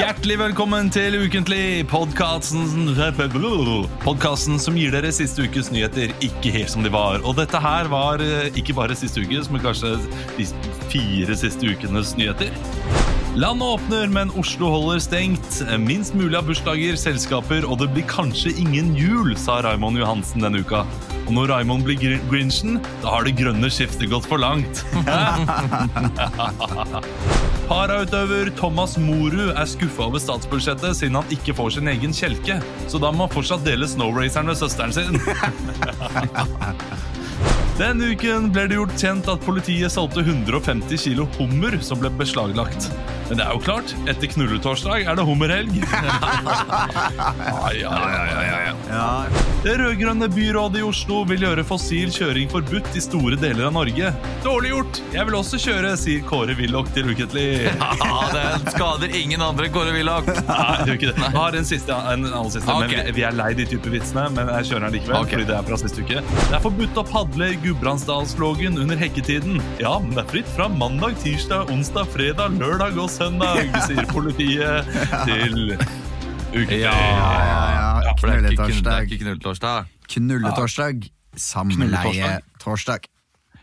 Hjertelig velkommen til Ukentlig, podkasten Podkasten som gir dere siste ukes nyheter ikke helt som de var. Og dette her var eh, ikke bare siste ukes, men kanskje de fire siste ukenes nyheter. Landet åpner, men Oslo holder stengt. Minst mulig av bursdager, selskaper, og det blir kanskje ingen jul, sa Raimond Johansen denne uka. Og når Raimond blir gr- grinchen, da har det grønne skiftet gått for langt. Parautøver Thomas Moru er skuffa over statsbudsjettet siden han ikke får sin egen kjelke, så da må han fortsatt dele snowraceren med søsteren sin. Denne uken ble det gjort kjent at politiet solgte 150 kilo hummer som ble beslaglagt. Men det er jo klart, etter knulletorsdag er det hummerhelg. Ai, ai, ai, ai, ai. Ja, Det rød-grønne byrådet i Oslo vil gjøre fossil kjøring forbudt i store deler av Norge. Dårlig gjort! Jeg vil også kjøre, sier Kåre Willoch til Ukentlig. Ja, det skader ingen andre, Kåre Willoch. Nei, det gjør ikke det. Jeg har en siste, en annen siste Ok. men vi, vi er lei de type vitsene, men jeg kjører den likevel, Ok. fordi det er fra siste uke. Det er forbudt å padle i Gudbrandsdalslågen under hekketiden. Ja, men det er fritt fra mandag, tirsdag, onsdag, fredag, lørdag og søndag, sier politiet til uke. Ja, ja, ja. For det er ikke, kun- det er Knulletorsdag. ikke knulletorsdag. Knulletorsdag. Samleietorsdag.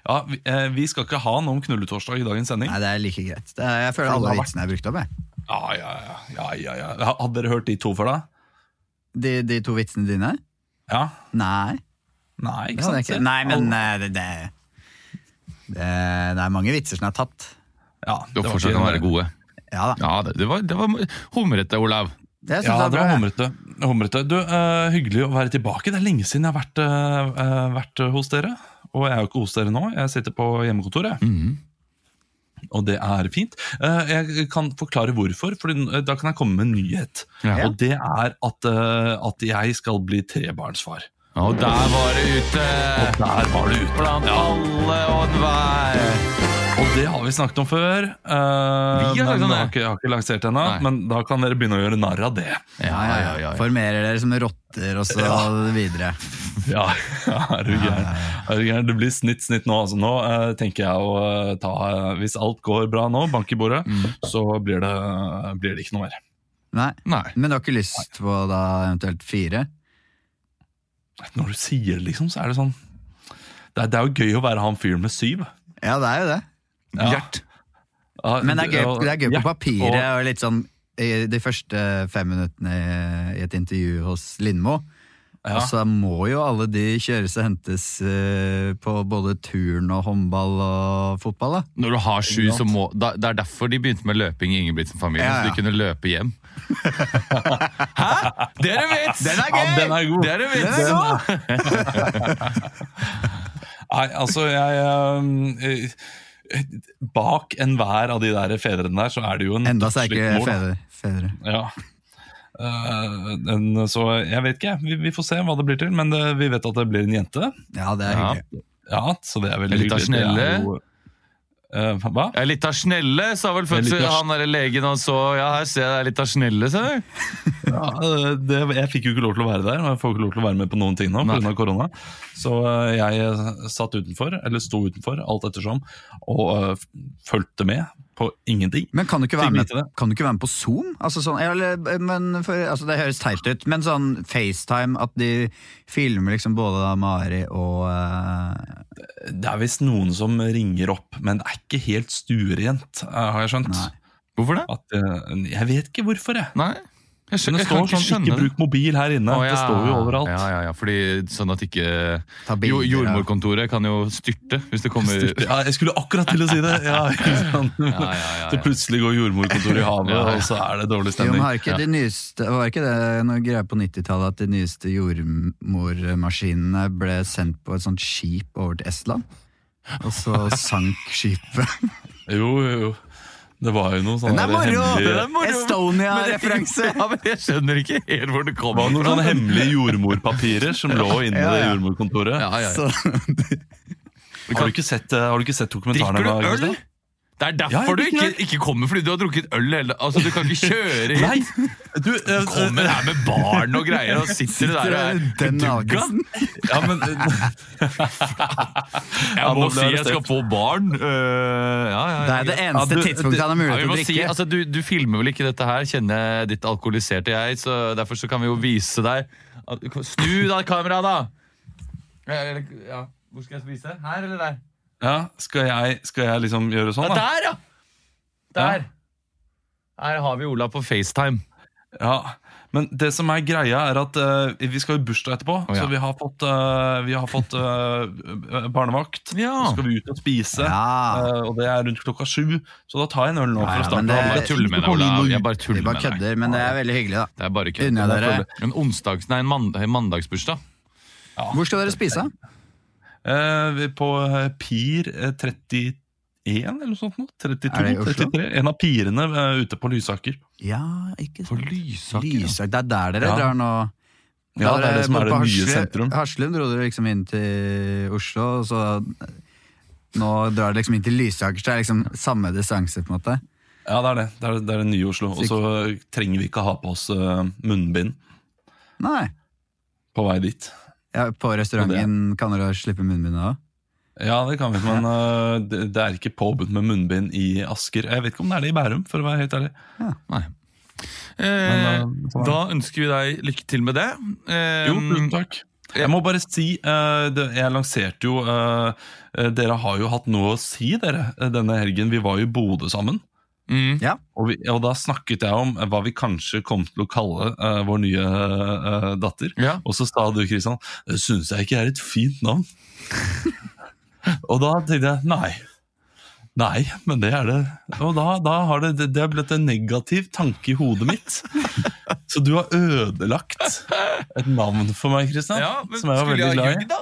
Ja, vi, eh, vi skal ikke ha noe om knulletorsdag i dagens sending. Nei, det er like greit. Det er, jeg føler alle vitsene er brukt opp. Jeg. Ja, ja, ja, ja, ja, ja. Ha- Hadde dere hørt de to før da? De, de to vitsene dine? Ja. Nei. Nei, det ikke hadde sant? jeg ikke. Nei, men eh, det, det, det, det er mange vitser som er tapt. Ja, Du det var fortsatt ikke- kan være gode. Ja da. Ja, det, det var, det var humrete, Olav. Det syns Ja, jeg det var jeg. humrete. humrete. Du, eh, Hyggelig å være tilbake. Det er lenge siden jeg har vært, eh, eh, vært hos dere. Og jeg er jo ikke hos dere nå, jeg sitter på hjemmekontoret. Mhm. Og det er fint. Eh, jeg kan forklare hvorfor, for da kan jeg komme med en nyhet. Ja. Og det er at, eh, at jeg skal bli trebarnsfar. Og der var det ute! Og der var det ut. Blant alle og enhver. Og det har vi snakket om før. eh, Vi har snakket om men jeg har det. ikke, jeg har ikke lansert det ennå, Nei. men da kan dere begynne å gjøre narr av det. Ja, ja, ja, ja. Formerer dere som rotter og så videre. Ja, er du gæren. Er du gæren? Det blir snitt, snitt nå. Altså, nå eh, tenker jeg å eh, ta eh, Hvis alt går bra nå, bank i bordet, Mm. så blir det, blir det ikke noe mer. Nei. Nei. Men du har ikke lyst på da eventuelt fire? Når du sier det, liksom, så er det sånn Det er, det er jo gøy å være han fyren med syv. Ja, det er jo det. Ja. Gjert. Ja, Men det er gøy, og- det er gøy på Gjert papiret og- og litt sånn i de første fem minuttene i- i et intervju hos Lindmo. Ja. Og så må jo alle de kjøres og hentes eh, på både turn og håndball og fotball, da. Når du har sju, så må da, Det er derfor de begynte med løping i Ingebrigtsen-familien. Ja, ja. Så de kunne løpe hjem. Hæ? Det er en vits! Den er Ja, gøy! den er god. Det er en vits! Den er god! Nei, altså, jeg ehm, eh, Bak enhver av de der fedrene der, så er det jo en Enda dødslik sterkere mor, da. fedre. fedre. Ja. Eh, en- så jeg vet ikke. Vi, vi får se hva det blir til, men det, vi vet at det blir en jente. Ja, det er Ja. hyggelig. Ja, så det er veldig Litt av hyggelig. Det er snelle. jo- Eh, hva? Jeg er litt av snelle, sa vel Jeg er fødsel, litt av- han der legen han så. Ja, her ser jeg det er litt av snelle, sa du. Ja, eh, det, jeg fikk jo ikke lov til å være der, og jeg får ikke lov til å være med på noen ting nå Nei. pga. korona. Så eh, jeg satt utenfor, eller sto utenfor, alt ettersom, og eh, f- fulgte med på ingenting. Men kan du, ikke være Fikk med, vite det. kan du ikke være med på Zoom? Altså sånn, eller, men for, altså det høres teit ut, men sånn FaceTime, at de filmer liksom både da Mari og eh, Det er visst noen som ringer opp, men det er ikke helt stuerent, eh, har jeg skjønt. Nei. Hvorfor det? At, eh, jeg vet ikke hvorfor, jeg. Nei. Jeg, Men skjønner, det jeg kan står ikke sånn skjønne 'ikke det. bruk mobil' her inne. Å, ja. Det står jo overalt. Ja, ja, ja, fordi sånn at ikke Ta bilder jo, av- Jordmorkontoret kan jo styrte hvis det kommer Ja, jeg skulle akkurat til å si det! Ja, ikke sant? ja, ja, ja. Så plutselig går jordmorkontoret i havet, Ja, ja. og så er det dårlig Jo, men stemning. har ikke de nyeste, var ikke det noe greier på 90-tallet at de nyeste jordmormaskinene ble sendt på et sånt skip over til Estland? Og så sank skipet. Jo, jo, jo. Det var jo noe sånn Den er moro! hemmelig er moro. Estonia-referanse! Ja, men jeg skjønner ikke helt hvor det det var kommer noen sånne hemmelige jordmorpapirer som lå inne i Ja, det ja. jordmorkontoret. Ja, ja, ja. Så- Har, du ikke sett, eh, har du ikke sett dokumentaren? om Drikker det, du øl? Gustav? Det Ja, er jeg derfor du blir ikke, knørt. ikke kommer, fordi du har drukket øl hele Altså, du kan ikke kjøre hit. Du, eh, Kommer her med barn og greier, og sitter du der og er Den bedugga? algesen. Ja, men eh, Jeg må nå ble si jeg jeg skal få barn. Øh, ja, ja, Det ja. er det eneste du- tidspunktet han Ja, har mulighet vi til må å si, drikke. altså, du, du filmer vel ikke dette her, kjenner jeg ditt alkoholiserte jeg, så derfor så kan vi jo vise deg at- Snu da kameraet, da! Eller, ja. Hvor skal jeg spise? Her eller der? ja, skal, jeg, skal jeg liksom gjøre Ja, sånn, da? der, ja! Der. Her har vi Ola på FaceTime. Ja. Men det som er greia, er at eh, vi skal jo i bursdag etterpå. ja. Så vi har fått, eh, vi har fått eh, barnevakt. Så Ja. skal vi ut og spise, Ja. eh, og det er rundt klokka sju. Så da tar jeg en øl nå Ja, for ja, å starte. men det- alle. Jeg tuller med deg, Olav. Jeg bare Vi tuller bare med deg. kødder, men det er veldig hyggelig, da. Det er bare kødd. Unner jeg eh? dere. En onsdags, nei, en mand- en mandagsbursdag. Hvor skal dere spise? Eh, vi- på eh, Pir eh, 31 eller noe sånt nå? 32? Er det i Oslo? 33? En av pirene eh, ute på Lysaker. Ja, ikke På Lysaker. ja. Lysak, det er der dere Ja. drar nå? Ja, det er det som Dere er det på nye Hasle- sentrum. Haslum dro dere liksom inn til Oslo, og så nå drar dere liksom inn til Lysaker, så det er liksom samme distanse, på en måte. Ja, det er det. Det er det, er det nye Oslo. Og så eh, trenger vi ikke ha på oss eh, munnbind Nei. på vei dit. Ja, på restauranten kan dere slippe munnbindet òg. Ja, det kan vi, men eh, det, det er ikke påbudt med munnbind i Asker. Jeg vet ikke om det er det i Bærum, for å være helt ærlig. Nei. Men, Eh, eh, sånn er da ønsker vi deg lykke til med det. Eh, Jo, tusen takk. Jeg må bare si, eh, det, jeg lanserte jo eh, eh, Dere har jo hatt noe å si, dere, eh, denne helgen. Vi var jo i Bodø sammen. Mm. Og, vi, og da snakket jeg om hva vi kanskje kom til å kalle eh, vår nye eh, datter. Ja. Og så sa du, Kristian, det syns jeg ikke er et fint navn. og da tenkte jeg nei. Nei, men det er det. Og da, da har det, det, det har blitt en negativ tanke i hodet mitt. Så du har ødelagt et navn for meg, Kristian. Ja, men som jeg var skulle veldig jeg ha glad i. ljugd, da?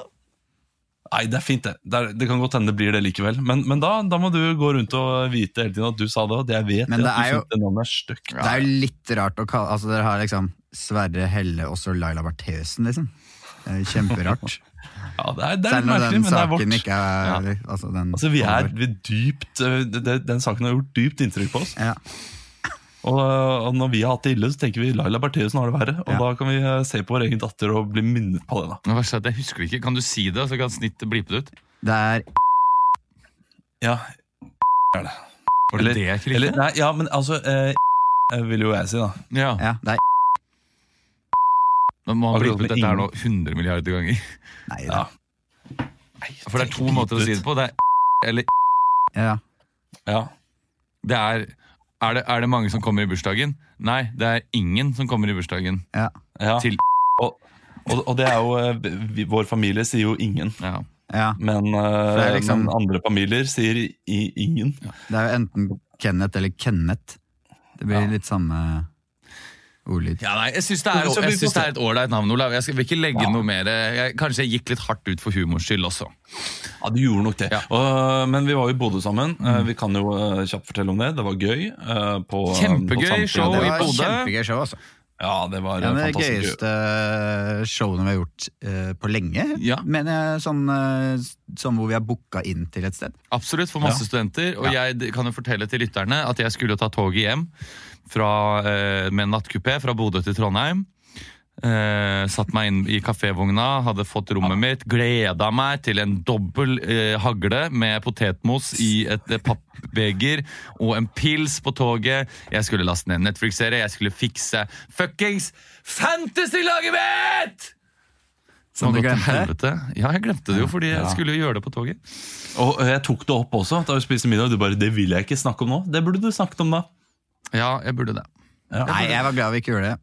Nei, det er fint, det. Det, er, det kan godt hende det blir det likevel. Men, men da, da må du gå rundt og vite hele tiden at du sa det, og det jeg vet, Men er det at er du jo- syns det navnet er stygt. Det er jo litt rart å kalle Altså, dere har liksom Sverre Helle og så Laila Bertheussen, liksom. Det er jo Kjemperart. Ja, det er, det er Selv litt når merkelig, men den det er saken vårt. ikke er Altså, den Altså, vi er vi er dypt, øh, det- det- Den saken har gjort dypt inntrykk på oss. Ja. Og, øh, og når vi har hatt det ille, så tenker vi Laila Bertheussen har det verre. Og Ja. da kan vi øh, se på vår egen datter og bli minnet på det. da. Det verste er at jeg husker det ikke. Kan du si det, så kan snittet blipe det ut? Det er Ja, Var Eller- det det jeg ikke eller, likte? nei, ja men altså eh, vil jo jeg si, da. Ja. Ja, det er Nå må han Akkurat som blipe ut dette her nå ingen- 100 milliarder ganger. Nei, det Ja. er For det er to måter å si det på. Det er eller Ja. Ja. det er er det, er det mange som kommer i bursdagen? Nei, det er ingen som kommer i bursdagen. ja. Til- Og, og, og det er jo øh, vi, Vår familie sier jo ingen. Ja. ja. Men, For det øh, er liksom- men andre familier sier i, ingen. Det er jo enten Kenneth eller Kenneth. Det blir Ja. litt samme ordlyd. Ja, nei, jeg syns det er, Så vi jeg synes får det er et ålreit navn, Olav. Jeg skal, vil ikke legge noe mer eh, jeg, Kanskje jeg gikk litt hardt ut for humors skyld også. Ja, du gjorde nok det. Ja. Mm. Og, men vi var jo i Bodø sammen. Eh, Vi kan jo eh, kjapt fortelle om det. Det var gøy. eh, På, Kjempegøy på Samfunnet. show Og Det i var Bodø- kjempegøy show, altså. Ja, det var eh, Ja, men det fantastisk gøy. gøyeste showene vi har gjort eh, på lenge, Ja. mener jeg. Sånn, eh, sånn hvor vi har booka inn til et sted. Absolutt, for masse studenter. Og jeg d- kan jo fortelle til lytterne at jeg skulle ta toget hjem fra, eh, med en nattkupé fra Bodø til Trondheim. Eh, satt meg inn i kafévogna, hadde fått rommet mitt. Gleda meg til en dobbel eh, hagle med potetmos i et eh, pappbeger og en pils på toget. Jeg skulle laste ned en Netflix-serie, jeg skulle fikse fuckings Fantasy-laget mitt! Som Nå du har gått til glemte. helvete. Ja, jeg glemte det jo, fordi jeg skulle jo gjøre det på toget. Og eh, jeg tok det opp også da vi spiste middag. Du bare 'Det vil jeg ikke snakke om nå'. Det burde du snakket om da. Ja, jeg burde det. Nei, jeg var glad vi ikke gjorde det.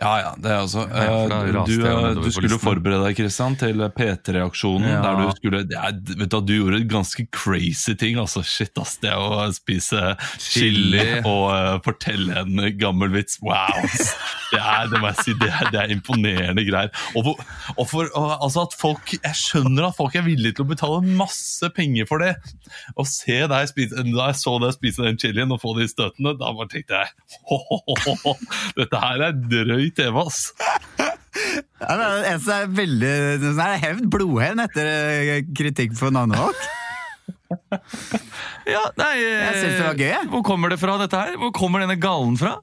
Ja, ja, det er altså Ja, for da eh, raste Du, jeg jo eh, nedover du på skulle listen. forberede deg Christian, til P3-aksjonen. Ja. Der du skulle det er, Vet du hva, du gjorde ganske crazy ting. Altså, shit, ass. Det å spise chili Chili. og eh, fortelle en gammel vits. Wow! ass. Det er, det må jeg si, det er, det er imponerende greier. Og, hvor- og for, og, altså at folk, Jeg skjønner at folk er villige til å betale masse penger for det. Å se deg spise Da jeg så deg spise den chilien og få de støtene, da bare tenkte jeg «Hohohoho, Dette her er drøy TV, ass. Ja, det er det eneste er veldig det er hevn, blodhevn etter eh, kritikk for navnevalg. Ja, nei, Jeg synes det var gøy, jeg. Hvor kommer det fra, dette her? Hvor kommer denne gallen fra?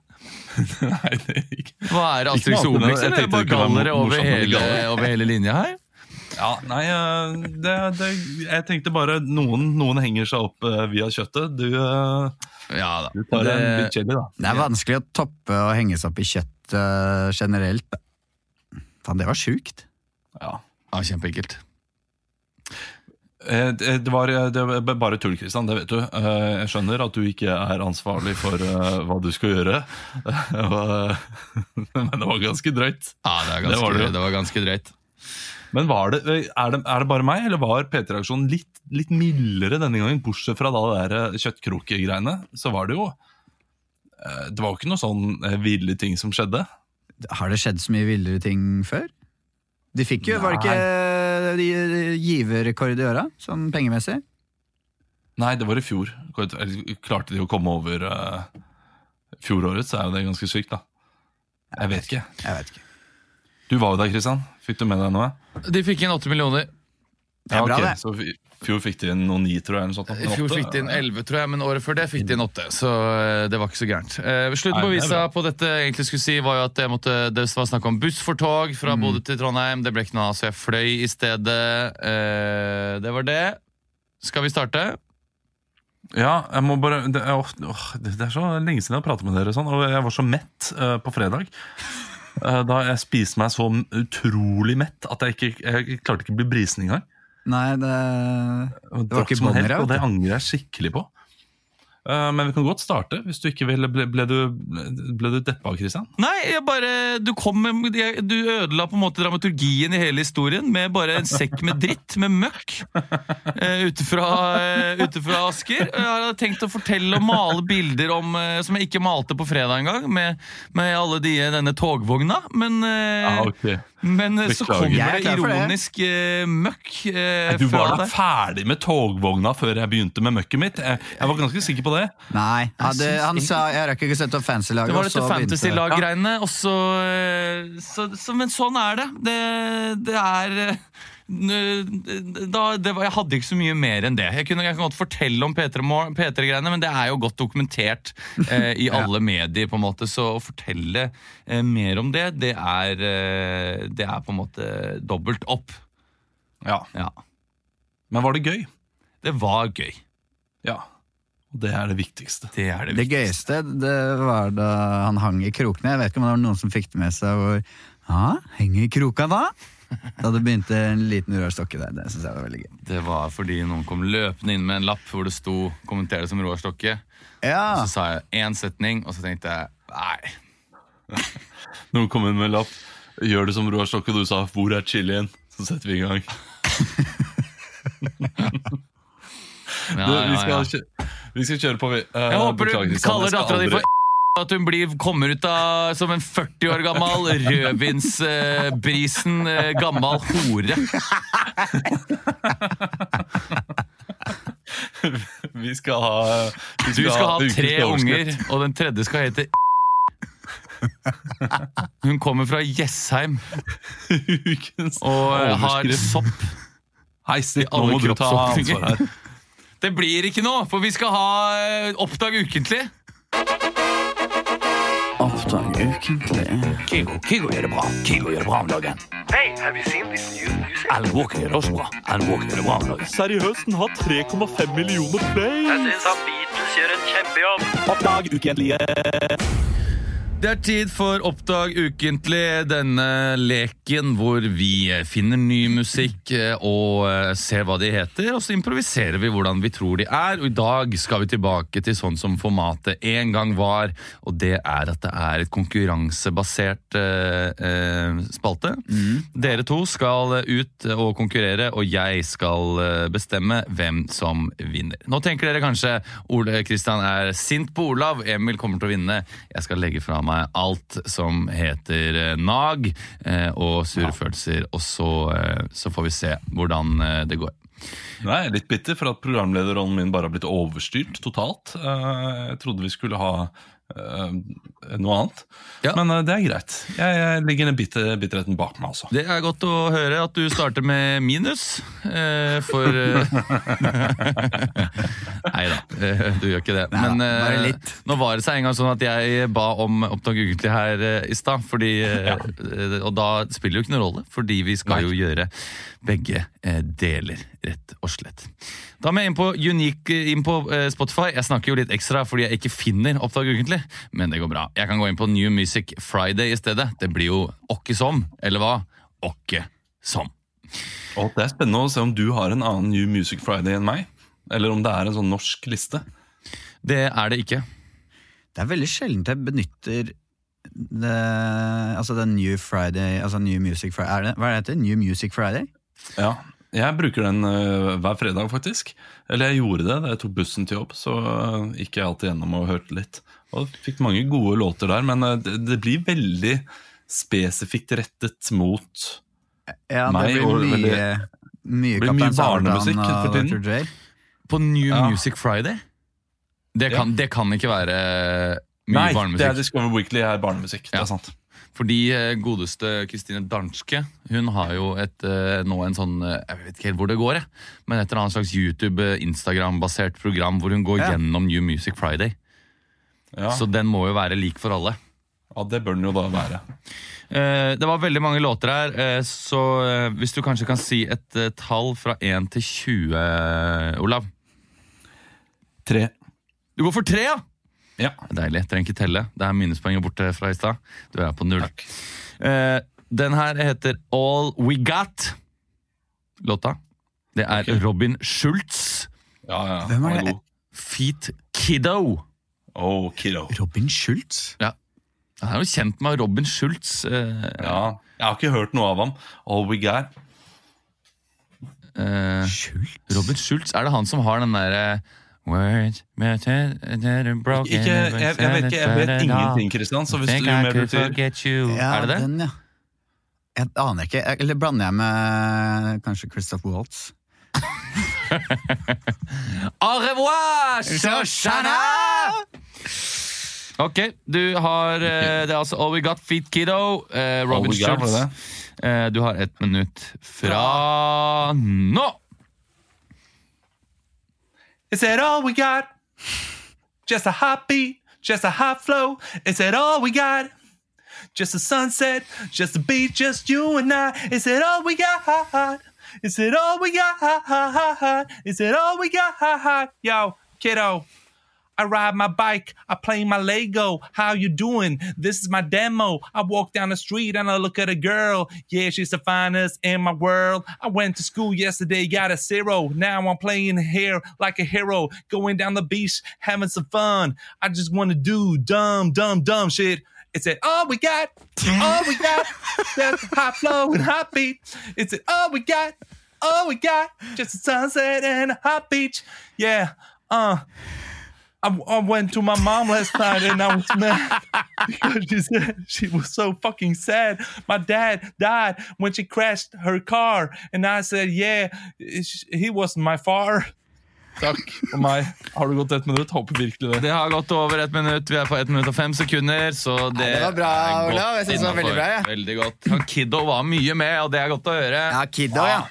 Nei, det er ikke Hva er det, Ikke Astrix noe annet enn det. Obelix? Jeg tenkte det kunne eller er Det bare være gallere over morsomt med hele, galler. over hele linja her? Ja, nei, eh, det, det, jeg tenkte bare noen, noen henger seg opp eh, via kjøttet. Du, eh, Ja da. du tar en Det- bit chili, da. Det er vanskelig å toppe og henge seg opp i kjøtt eh, generelt. da. Faen, det var sjukt. Ja. Ja, Kjempeenkelt. Eh, Det det var, det var bare tull, Kristian. Det vet du. Eh, Jeg skjønner at du ikke er ansvarlig for eh, hva du skal gjøre. Men det var ganske drøyt. Ja, det, er Det ganske, var det det, jo. var ganske drøyt. Men var det, eh, er, det, er det bare meg, eller var PT-reaksjonen litt, litt mildere denne gangen? Bortsett fra da det der eh, kjøttkrokegreiene, så var det jo eh, Det var jo ikke noe sånn eh, ville ting som skjedde. Har det skjedd så mye villere ting før? De fikk jo, var det ikke de- giverrekord i åra, sånn pengemessig? Nei, det var i fjor. Eller, Klarte de å komme over eh, fjoråret, så er jo det ganske sykt, da. Jeg vet ikke. Jeg vet ikke. Du var jo der, Kristian. Fikk du med deg noe? De fikk inn åtte millioner. Det er Ja, bra, ok, det. Så i fjor fikk de inn noen ni, tror jeg. Eller noe sånt, da. I fjor Åtte, fikk de inn ja. elleve, tror jeg, men året før det fikk de inn åtte. Så eh, det var ikke så gærent. Eh, slutten Nei, det på er visa på dette jeg egentlig skulle si, var jo at jeg måtte, det var snakk om buss for tog fra Mm. Bodø til Trondheim. Det ble ikke noe av, så jeg fløy i stedet. Eh, det var det. Skal vi starte? Ja, jeg må bare det er, ofte- åh, det det er så lenge siden jeg har pratet med dere sånn, og jeg var så mett eh, på fredag. Eh, da jeg spiste meg så utrolig mett at jeg ikke jeg klarte ikke å bli brisen engang. Nei, det Og Det var drakk ikke som en helt, bonger, Og vet det angrer jeg skikkelig på. Eh, men vi kan godt starte, hvis du ikke vil. Ble, ble du, ble du deppa, Kristian? Nei, jeg bare, du, kom med, jeg, du ødela på en måte dramaturgien i hele historien med bare en sekk med dritt, med møkk, eh, ute fra eh, ute fra Asker. Og Jeg hadde tenkt å fortelle og male bilder om, eh, som jeg ikke malte på fredag engang, med, med alle de, denne togvogna, men, eh, Ah, ok. men eh, så Beklager. kommer Jeg er det klar for det. ironisk eh, møkk eh, Du var fra da deg. ferdig med togvogna før jeg begynte med møkket mitt. Jeg, jeg var ganske sikker på det. Nei, ja, det, syns han ikke- sa jeg rakk ikke å sette opp fancy-laget. Det var og dette så begynte- fantasy-lag-greiene, og så, eh, så, så Men sånn er det. Det, det er eh, n- da, det var, Jeg hadde ikke så mye mer enn det. Jeg, kunne, jeg kan godt fortelle om P3-mor- P3-greiene, men det er jo godt dokumentert eh, i alle medier, på en måte, så å fortelle eh, mer om det, det er, eh, det er på en måte dobbelt opp. Ja. Ja. Men var det gøy? Det var gøy. Ja. Og det er det viktigste. Det er det. Det gøyeste det var da han hang i krokene. Jeg vet ikke om det var noen som fikk det med seg. Hvor, ja, henger i kroka da? Da det begynte en liten Roar Stokke der. Det synes jeg var veldig gøy. Det var fordi noen kom løpende inn med en lapp hvor det sto 'kommenter det som Roar Stokke'. Ja, Så sa jeg én setning, og så tenkte jeg nei. Noen kom inn med en lapp. Gjør det som Roar Stokke du sa. Hvor er chilien? Så setter vi i gang. Ja, du, vi, ja, skal ja. kjø vi skal kjøre på, vi. Eh, Jeg håper beklager, du Kristian, jeg kaller skal dattera di aldri- for at hun blir, kommer ut av som en 40 år gammel rødvinsbrisen eh, gammel hore. Vi skal ha vi Du skal ha ukens tre overskrift. unger, og den tredje skal hete Hun kommer fra Jessheim ukens og eh, har overskrift. sopp. Hei, Stig, nå alle må du ta kroppsåpninger. ansvar her. Det blir ikke noe, for vi skal ha eh, Oppdag ukentlig. Kygo, Kygo gjør det bra. Kygo gjør det bra om dagen. Hey, have you seen this new music? Alan Walker gjør det også bra. Alan Walker gjør det bra om dagen. Seriøst, den har 3,5 millioner play. Jeg syns han Beatles gjør en kjempejobb. Oppdag ukentlige. Det er tid for Oppdag ukentlig, denne leken hvor vi finner ny musikk eh, og eh, ser hva de heter, og så improviserer vi hvordan vi tror de er. Og i dag skal vi tilbake til sånn som formatet en gang var, og det er at det er et konkurransebasert eh, eh, spalte. Dere to skal eh, ut og konkurrere, og jeg skal eh, bestemme hvem som vinner. Nå tenker dere kanskje Ole Kristian er sint på Olav, Emil kommer til å vinne. Jeg skal legge fra meg alt som heter eh, nag eh, og sure følelser, og så, eh, så får vi se hvordan eh, det går. Nå er jeg litt bitter for at programlederrollen min bare har blitt overstyrt totalt. Eh, Jeg trodde vi skulle ha eh, noe annet. Ja. Men eh, det er greit. Jeg, jeg legger den bitter, bitterheten bak meg, altså. Det er godt å høre at du starter med minus, eh, for eh, Nei da, eh, du gjør ikke det. Neida, eh, bare litt. nå var det seg en gang sånn at jeg ba om oppdrag ukentlig her eh, i stad, fordi eh, eh, Og da spiller det jo ikke noen rolle, fordi vi skal jo gjøre begge eh, deler, rett og slett. Da må jeg inn på, Unique, eh, inn på eh, Spotify. Jeg snakker jo litt ekstra fordi jeg ikke finner Oppdag ukentlig, men det går bra. Jeg kan gå inn på New Music Friday i stedet. Det blir jo åkke som, eller hva? Åkke som. Og det er spennende å se om du har en annen New Music Friday enn meg. Eller om det er en sånn norsk liste. Det er det ikke. Det er veldig sjelden jeg benytter det, altså den New Friday altså New Music Friday er det, Hva er det heter? New Music Friday? Ja, jeg bruker den øh, hver fredag faktisk. Eller jeg gjorde det da jeg tok bussen til jobb, så øh, gikk jeg alltid gjennom og hørte litt. Og fikk mange gode låter der, men øh, det, det blir veldig spesifikt rettet mot Ja, Nei, det og blir mye, veldig- mye blir mye Kaptein Sabeltann barnemusikk og for tiden. Dr. Dre. På New Ja. Music Friday? Det kan, det kan ikke være mye Nei, det er barnemusikk. Discover Weekly er barnemusikk. Det Ja. er sant. Fordi eh, godeste Kristine Danske Hun har jo et, eh, nå en sånn eh, Jeg vet ikke helt hvor det går, jeg. men et eller annet slags YouTube-Instagram-basert program hvor hun går Ja. gjennom New Music Friday. Ja, Så den må jo være lik for alle. ja Det bør den jo da være. Eh, Det var veldig mange låter her, eh, så eh, hvis du kanskje kan si et eh, tall fra 1 til 20, Olav. Tre. Du går for tre, ja! Ja. Det er Deilig. Trenger ikke telle. Det er minuspoenget borte fra i stad. Du er på null. Eh, den her heter All We Got. Låta. Det er Robin Schultz. Ja, ja. Hvem er den det? god. Feet Kiddo. Oh, kiddo. Robin Schultz? Han er jo kjent med Robin Schultz. eh, Ja. Jeg har ikke hørt noe av ham. All we got. eh, Robin Schultz, er det han som har den derre Words matter, they're broken, Ikke, jeg, jeg vet ikke, jeg vet ingenting, Christian. Så hvis Think du I mer could betyr forget you. Ja, er det det? Den, ja. Jeg aner ikke. Jeg- Eller blander jeg med kanskje Christoph Waltz? Au revoir, Shoshana! Ok, du har eh, Det er altså All We Got Feet Kiddo, eh, Robin All We Got, Schultz. var det Eh, du har ett minutt fra nå! Is it all we got? Just a hot beat, just a hot flow. Is it all we got? Just a sunset, just a beat, just you and I. Is it all we got? Is it all we got? Is it all we got? Yo, kiddo. I ride my bike, I play my Lego. How you doing? This is my demo. I walk down the street and I look at a girl. Yeah, she's the finest in my world. I went to school yesterday, got a zero. Now I'm playing here like a hero. Going down the beach, having some fun. I just want to do dumb, dumb, dumb shit. It's it all we got, all we got. That's hot flow and hot beat. It's it all we got, all we got. Just a sunset and a hot beach. Yeah, uh. I, I went to my mom last night and I was mad because she said she was so fucking sad. My dad died when she crashed her car, and I said, "Yeah, it's- he wasn't my far." Takk for meg. Har du gått ett minutt? Håper virkelig Det har gått over ett minutt. Vi er på ett minutt og fem sekunder. Så det, det var bra, er godt Olav. Jeg synes det var veldig innenfor. bra, jeg. Veldig godt. Han Kiddo var mye med, og det er godt å høre. Ja, Kiddo, ja.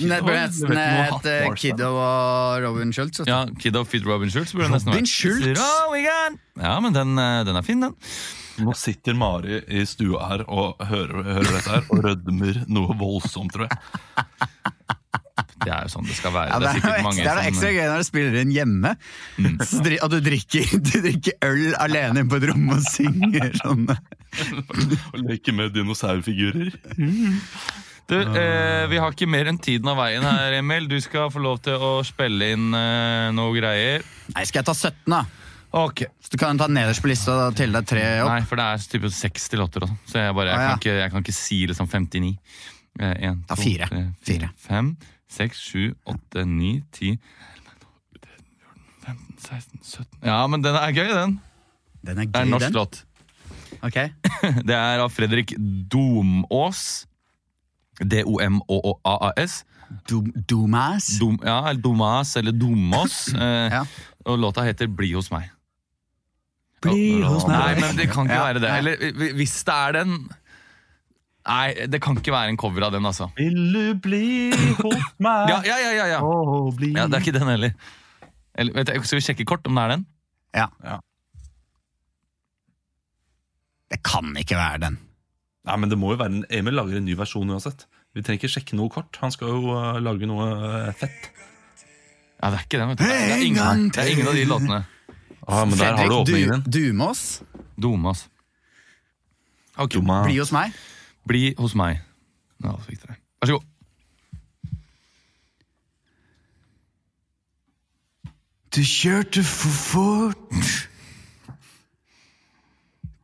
Men Det burde nesten hett eh, Kiddo og Robin Schultz. vet du. Ja, Kiddo Fit Robin Schultz burde det nesten Robin vært. Schultz? Oh my God. Ja, men den, eh, den er fin, den. Nå sitter Mari i stua her og hører, hører dette her og rødmer noe voldsomt, tror jeg. Det er jo sånn det skal være. Ja, det, er sikkert noe mange ekstra, som- det er noe eh, Mm. ekstra gøy når du spiller inn hjemme, Så dri- og du drikker, du drikker øl alene inne på et rom og synger sånn. Og leker med dinosaurfigurer. Du, eh, vi har ikke mer enn tiden av veien her, Emil. Du skal få lov til å spille inn eh, noe greier. Nei, skal jeg ta 17, da? Ok. Så du kan ta nederst på lista og telle deg tre opp. Nei, for det er type 60 låter, også. så jeg, bare, jeg, Ah, ja. kan ikke, jeg kan ikke si liksom 59. Eh, en, Ta to, fire. tre, Fire. Fem, seks, sju, åtte, ni, ti, elleve, tolv, tretten, fjorten, femten, seksten, sytten. Ja, men den er gøy, den. Den er Det er gøy, en norsk den. låt. Ok. Det er av Fredrik Domås. D-O-M-Å-A-A-S. Dum- Dumas. Dom, ja, eller Domas, eller Domås. Eh, Ja. Og låta heter Bli hos meg. Bli hos Nei, meg. men det kan ikke være det. Eller hvi- hvis det er den Nei, det kan ikke være en cover av den, altså. Vil du bli hos meg Ja, ja, ja, ja, ja. og bli ja Det er ikke den heller. Eller, vet jeg, skal vi sjekke kort om det er den? Det kan ikke være den. Nei, men det må jo være en Emil lager en ny versjon uansett. Vi trenger ikke sjekke noe kort. Han skal jo øh, lage noe øh, fett. Ja, det er ikke den, vet du. Det er ingen, det er ingen av de låtene. Ah, men der har du åpningen din. Dumås, Domas. Ok, Dumma. bli hos meg. bli hos meg. Ja, så fikk dere. Vær så god. Du kjørte for fort.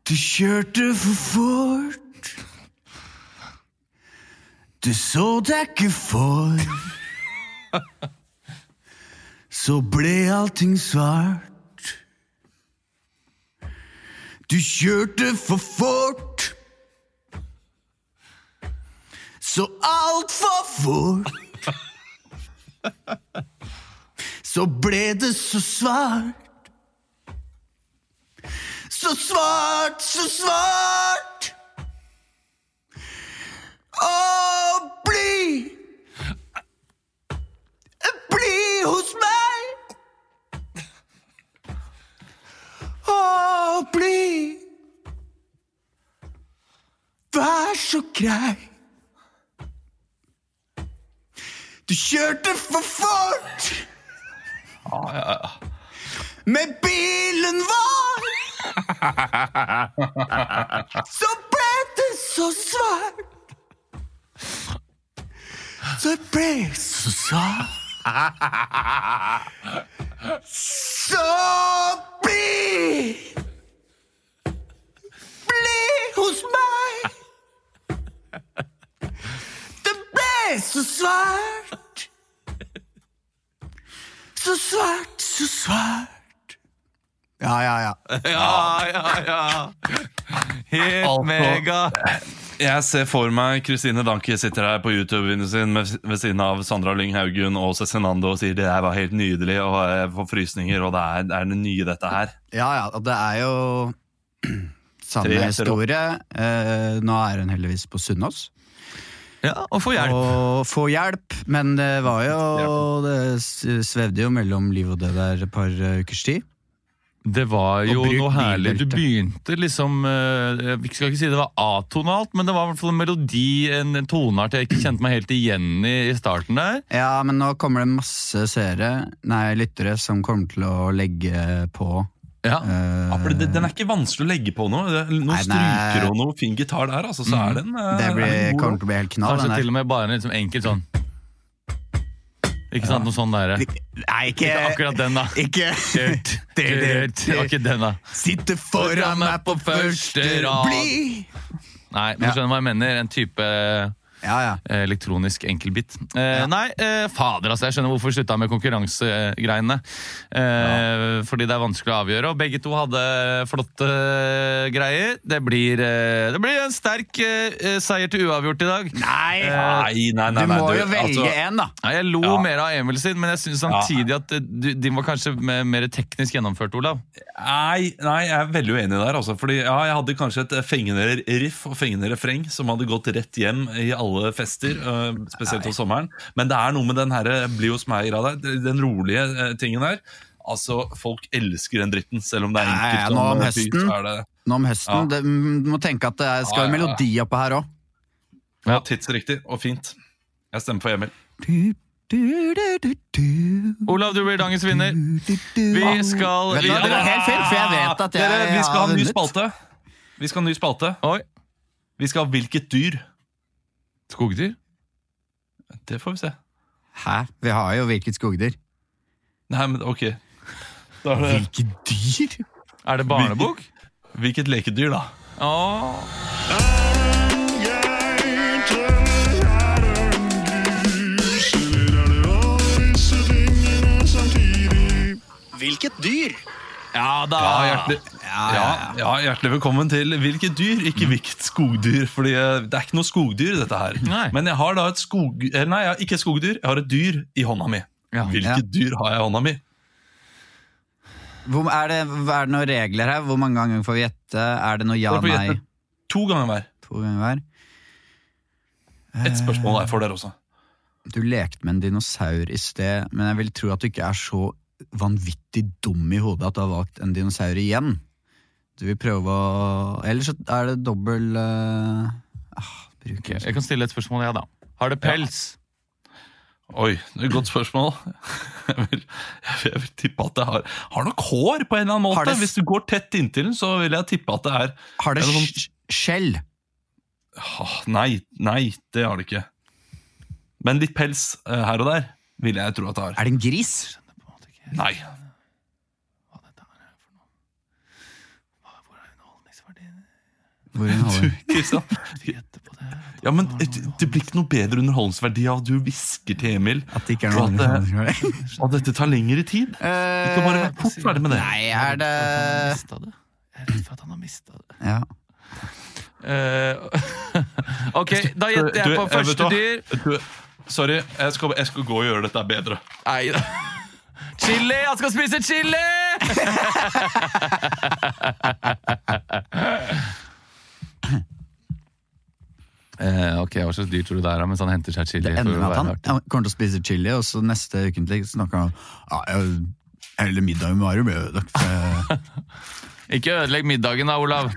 Du kjørte for fort. Du så deg ikke for. Så ble allting svart. Du kjørte for fort. Så altfor fort. så ble det så svart. Så svart, så svart. Å, bli Bli hos meg. Å, bli Vær så grei. Du kjørte for fort. Men bilen var Så ble det så svart Så ble det så svart Så bli Bli hos meg Det ble så svart Så svart, så svart Ja, ja, ja Ja, ja, ja. Helt mega. Jeg ser for meg Kristine Danke sitter her på YouTube-videoen sin med, ved siden av Sandra Lyng Haugen og Cezinando og sier det her var helt nydelig, og jeg får frysninger, og det er det, er det nye, dette her. Ja, ja, og det er jo Tre samme etter historie. Eh, nå er hun heldigvis på Sunnaas Ja, og få hjelp. og får hjelp, men det var jo Det s- svevde jo mellom liv og død der et par eh, ukers tid. Det var jo Og bruk noe herlig. Du bilbelte. begynte liksom eh, Jeg skal ikke si det var atonalt, men det var i hvert fall en melodi, en en toneart jeg ikke kjente meg helt igjen i i starten der. Ja, men nå kommer det masse seere, nei, lyttere, som kommer til å legge på. Ja. eh, Ja, for det, den er ikke vanskelig å legge på noe. Det er Noen Nei, den er- Mm. stryker og noe fin gitar der, altså, så er den, eh, det er blir, den god. kommer til å bli helt knall. Eh, Kanskje den til her. og med bare en liksom enkel sånn Ikke sant? Noe sånn derre. Ikke Nei, ikke, akkurat den, da. ikke Dirt, dirt. Det var ikke den, da. Sitte foran meg på første rad! Bli! Nei, men du skjønner hva jeg mener. En type Ja, ja. Eh, elektronisk enkelbit. Eh, Nei, eh, fader, altså. Jeg skjønner hvorfor vi slutta med konkurransegreiene. Eh, Fordi det er vanskelig å avgjøre, og begge to hadde flotte eh, greier. Det blir, eh, det blir en sterk eh, seier til uavgjort i dag. Nei! Nei, nei, nei, Du nei, må jo altså- velge en, da. Nei, jeg lo Ja. mer av Emil sin, men jeg syns samtidig at eh, du, din var kanskje mer, mer teknisk gjennomført, Olav. Nei, nei, jeg er veldig uenig der. Altså, fordi ja, Jeg hadde kanskje et fengende riff og fengende refreng som hadde gått rett hjem i alle fester, øh, spesielt om sommeren. Men det er noe med den her eh, bli hos meg-greia der, den rolige eh, tingen der. Altså, Folk elsker den dritten, selv om det er Ja, ja, enkelt. nå om og fy, høsten. så er det Nå om høsten. Det, mm, du må tenke at det er- skal Ja, ja, ja. melodi oppå her òg. Ja. tidsriktig og fint. Jeg stemmer for Emil. Olav, du blir dagens vinner. Vi Vi skal Vet du hva, det var helt fint, for jeg vet at jeg Dere, vi skal har ha en ny vunnet. spalte. Vi skal ha en ny spalte. Oi. Vi skal ha 'Hvilket dyr'. Skogdyr? Det får vi se. Hæ? Vi har jo hvilket skogdyr. Nei, men ok. Hvilket dyr? Er det barnebok? Hvilket lekedyr, da? Åh. Hvilket dyr? Ja da! Ah. Ja, hjertelig, ja, ja, hjertelig velkommen til Hvilket dyr, ikke hvilket skogdyr. Fordi eh, det er ikke noe skogdyr, dette her. Nei. Men jeg har da et skog... eh, Nei, jeg har ikke et skogdyr. Jeg har et dyr i hånda mi. Ja. Hvilket dyr har jeg i hånda mi? Hvor, er, det, er det noen regler her? Hvor mange ganger får vi gjette? Er det noe ja, Dere får nei? gjette To ganger hver. To ganger hver. Ett spørsmål er for dere også. Du lekte med en dinosaur i sted, men jeg vil tro at du ikke er så vanvittig dum i hodet at du har valgt en dinosaur igjen. Du vil prøve å Eller så er det dobbel eh, ah, bruker Jeg kan stille et spørsmål, jeg, da. Har det pels? Oi, det er et godt spørgsmål. Jeg vil, jeg vil tippe at det har Har nok hår på en eller annen Har måte. det s- Hvis du går tett inntil den, så vil jeg tippe at det er Har Er det det sånn- sj- skjell? Åh, Nei, nei, det har det ikke. Men litt pels eh, her og der vil jeg tro at det har. Er det en gris? Nei. Hvor hun holder den. Kristian. Ja, men det det blir ikke noe bedre underholdningsverdi av at du hvisker til Emil At det ikke er Tror noen at det- andre som gjør det. Eh, at dette tar lengre tid. Du kan bare Eh, være fort ferdig med det. Nei, er det Jeg er redd for at han har mista det. Ja. Eh, ok, da Du- gjetter jeg du, eh, på vet du første hva? dyr. Du, sorry, jeg skal, jeg skal gå og gjøre dette bedre. Nei da. Chili! Han skal spise chili! Eh, ok, Hva slags dyr tror du det er da, mens han henter seg chili? Det for ender å med at være han, artig? han kommer til å spise chili, og så neste ukentlig snakker han om "Ah, ja, jeg- Hele middagen med Arum ble ødelagt. eh." for jeg- Ikke ødelegg middagen da, Olav.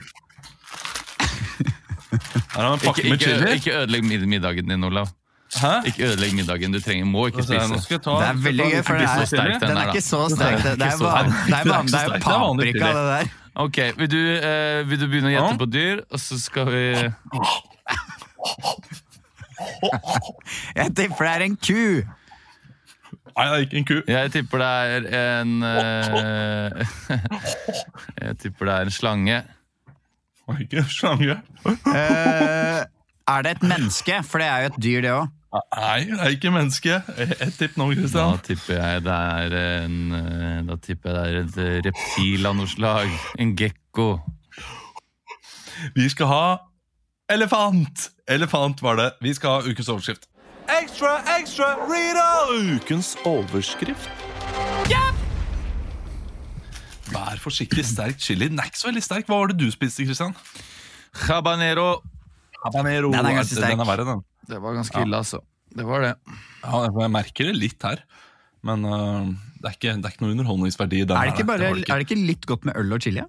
Her har vi en Ikke, pakke med ikke, chili. ikke ødelegg mid- middagen din, Olav. Hæ? Ikke ødelegg middagen. Du trenger, må ikke Nå skal jeg- nå spise. skal jeg ta, Det er veldig gøy, for det så er, sterk, den den der, er da. ikke så sterk. Det, det så er sterk. van- det er van- Det er det ikke så er sterk. Det er vanlig paprika, det der. Ok, Vil du, eh, vil du begynne å gjette Ja. på dyr, og så skal vi Jeg tipper det er en ku! Nei, det er ikke en ku. Jeg tipper det er en eh, Jeg tipper det er en slange. Det er Ikke en slange. Eh, er det et menneske? For det er jo et dyr, det òg. Nei, det er ikke menneske. Ett tipp nå, Da Kristian. tipper jeg det er en eh, Da tipper jeg det er et reptil av noe slag. En gekko. Vi skal ha elefant. Elefant var det. Vi skal ha ukens overskrift. Ekstra, ekstra, Rita! Ukens overskrift. Vær forsiktig, sterk chili. Den er ikke så veldig sterk. Hva var det du spiste, Kristian? Habanero. Habanero. Den er ganske sterk. Den er verre, den. Det var ganske ille, altså. Det var det. Ja, jeg merker det litt her. Men øh, det, er ikke, det er ikke noe underholdningsverdi. i den Er, det her, ikke nei. bare- var er det ikke litt godt med øl og chili?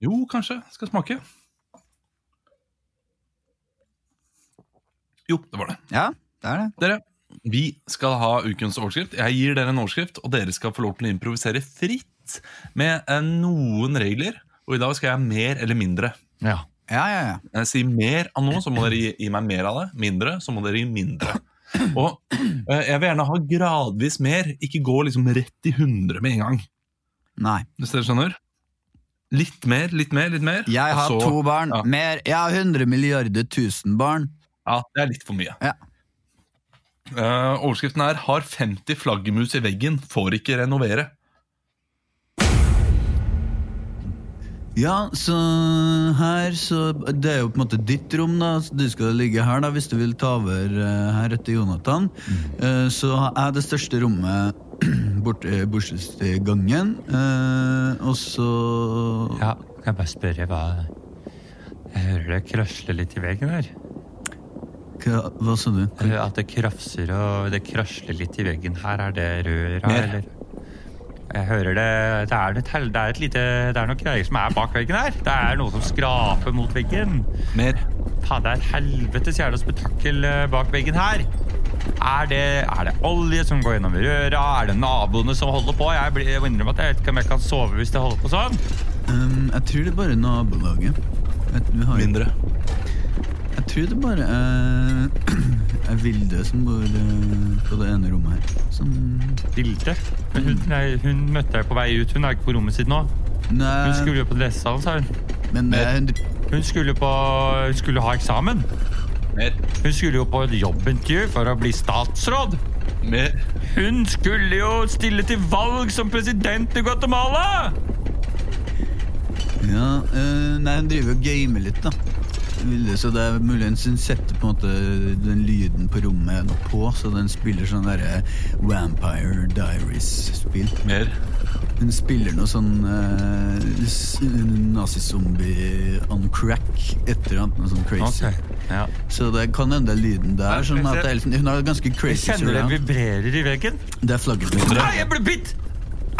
Jo, kanskje. Skal smake. Jo, det var det. Ja, det er det. Dere, vi skal ha ukens overskrift. Jeg gir dere en overskrift, og dere skal få lov til å improvisere fritt med eh, noen regler. Og i dag skal jeg mer eller mindre. Ja. Ja, ja, ja. Når jeg sier mer av noe, så må dere gi, gi meg mer av det. Mindre, så må dere gi mindre. Og eh, jeg vil gjerne ha gradvis mer, ikke gå liksom rett i 100 med en gang. Nei. Hvis dere skjønner? Litt mer, litt mer, litt mer. Jeg og har så- to barn. ja. Mer. Jeg har 100 milliarder tusen barn. Ja, det er litt for mye. Ja. Eh, overskriften er 'Har 50 flaggermus i veggen, får ikke renovere'. Ja, så her så Det er jo på en måte ditt rom, da. så Du skal ligge her da hvis du vil ta over eh, her etter Jonathan. Mm. Eh, Så er det største rommet borte- eh, bortsett i gangen. Eh, Og så Ja, kan jeg bare spørre hva Jeg hører det krasler litt i veggen her. Hva, hva sa du? Eh, At det krafser og det krasler litt i veggen her. Er det røra, Mer. eller? Jeg hører det det er, et, hel- det er et lite Det er noen greier som er bak veggen her. Det er noe som skraper mot veggen. Mer. Faen, det er et helvetes jævla spetakkel eh, bak veggen her. Er det, er det olje som går gjennom røra? Er det naboene som holder på? Jeg blir- jeg må innrømme at jeg vet ikke om jeg kan sove hvis det holder på sånn. Um, jeg tror det er bare nabolaget. Jeg, vi har, Mindre. jeg tror det bare eh, er Vilde som bor eh, på det ene rommet her. Som Vilde. Men hun, nei, hun møtte jeg på vei ut. Hun er ikke på rommet sitt nå. Eh. Hun Nei, skulle jo på dressalen, sa hun. men det er hundre- Hun skulle, på, hun skulle ha eksamen. Mer. Hun skulle jo på et jobbintervju for å bli statsråd. Mer. Hun skulle jo stille til valg som president i Guatemala! Ja, eh, nei, hun driver og gamer litt, da. ville, så det er muligens den setter på en måte den lyden på rommet noe på, så den spiller sånn derre Vampire Diaries-spill. Mer. Den spiller noe sånn eh, s- nazizombie on crack, et eller annet noe sånn crazy. Ok, ja. Så det kan hende det er lyden der. Sånn at det er, hun har ganske Jeg crazy kjenner det surround. vibrerer i veggen. Det er flaggermus Nei, jeg ble bitt!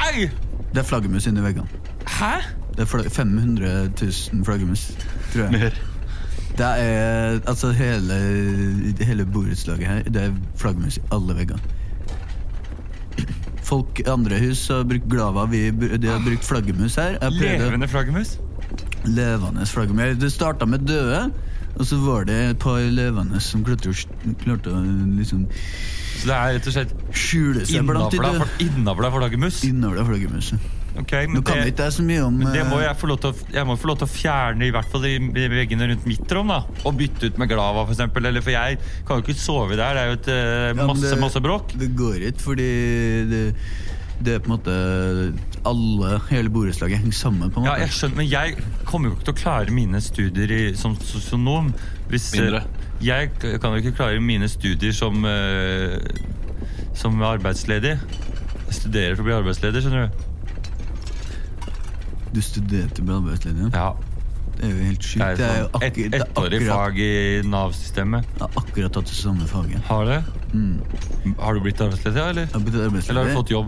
Au! Det er flaggermus inni veggene. Hæ? Det er fla- 500 000 flaggermus, tror jeg. Mer. Det er altså hele, hele borettslaget her. Det er flaggermus i alle veggene. Folk i andre hus har brukt Glava. Vi, br- de har brukt flaggermus her. Jeg prøvde Levende flaggermus. levende flaggermus. Det starta med døde, og så var det et par levende som klarte å, sk- klarte å liksom Så det er rett og slett skjule seg blant de innavla døde. fla- innavla flaggermus? Innavla flaggermuset. Ok, Nå men kan det, ikke jeg så mye om men det må eh, jeg få lov til å, jeg må få lov til å fjerne i hvert fall de de veggene rundt mitt rom, da. Og bytte ut med Glava, for eksempel. Eller, for jeg kan jo ikke sove der. Det er jo et eh, Ja, men masse, det- masse bråk. Det går ikke, fordi det, det er på en måte Alle, hele borettslaget henger sammen, på en Ja, måte. jeg skjønner, men jeg kommer jo ikke til å klare mine studier i, som sosionom. Hvis, eh, Mindre. Jeg k- kan jo ikke klare mine studier som, eh, som arbeidsledig. Jeg studerer for å bli arbeidsleder, skjønner du. Du studerte på arbeidslinjen. Ja, Det er jo helt sjukt. jeg Det er er jo sånn akkurat, ett det er ettårig akkurat, fag i Nav-systemet. jeg har akkurat tatt det samme faget. Har du? Mm. Har du blitt arbeidsledig, ja, eller? Jeg har blitt Eller har du arbeidsledig. fått jobb?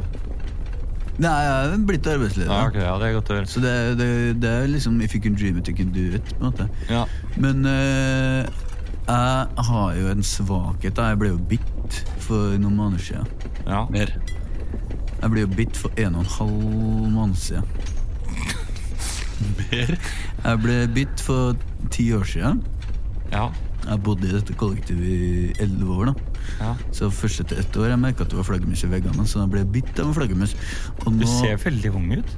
Nei, jeg har blitt arbeidsledig. Ja, ok, ja, det er godt å høre. Så det, er- det, er- det er liksom If you can dream it, you can do it. på en måte. Ja. Men eh, jeg har jo en svakhet. da. Jeg ble jo bitt for noen måneder siden. Ja. Mer. Jeg ble jo bitt for en og en halv måned siden. Mer. Jeg ble bitt for ti år siden. ja. Jeg bodde i dette kollektivet i elleve år. da Ja. Så først etter ett år jeg merka at det var flaggermus i veggene. Så da ble jeg bitt av en flaggermus. Og Du nå ser veldig ung ut.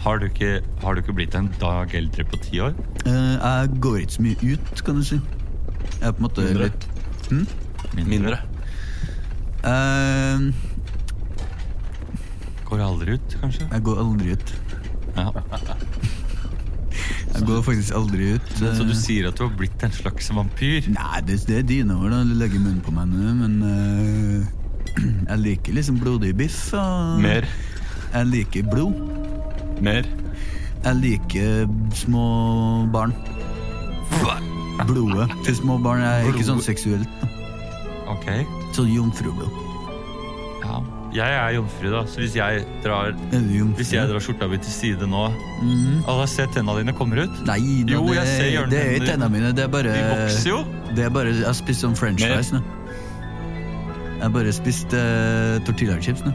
Har du, ikke, har du ikke blitt en dag eldre på ti år? eh, jeg går ikke så mye ut, kan du si. Jeg er på en måte Mindre. litt Mindre. eh, Går aldri ut, kanskje? Jeg går aldri ut. Ja. Jeg går faktisk aldri ut. Så eh. du sier at du har blitt en slags vampyr? Nei, det, det er dine ord. da Du legger munnen på meg nå, men eh, Jeg liker liksom blodig biff. Og Mer. Jeg liker blod. Mer. Jeg liker små barn. Blodet til små barn er ikke sånn seksuelt. Ok. Sånn jomfrublod. Ja. Jeg er jomfru, da, så hvis jeg drar, Er du jomfru? hvis jeg drar skjorta mi til side nå Mhm. Alle ser tennene dine kommer ut. Nei, da, Jo, jeg det, ser hjørnet det er din. ikke tennene mine. Det er bare De vokser jo. Det er bare Jeg har spist sånn french Mer. fries nå. Jeg har bare spist uh, tortillachips nå.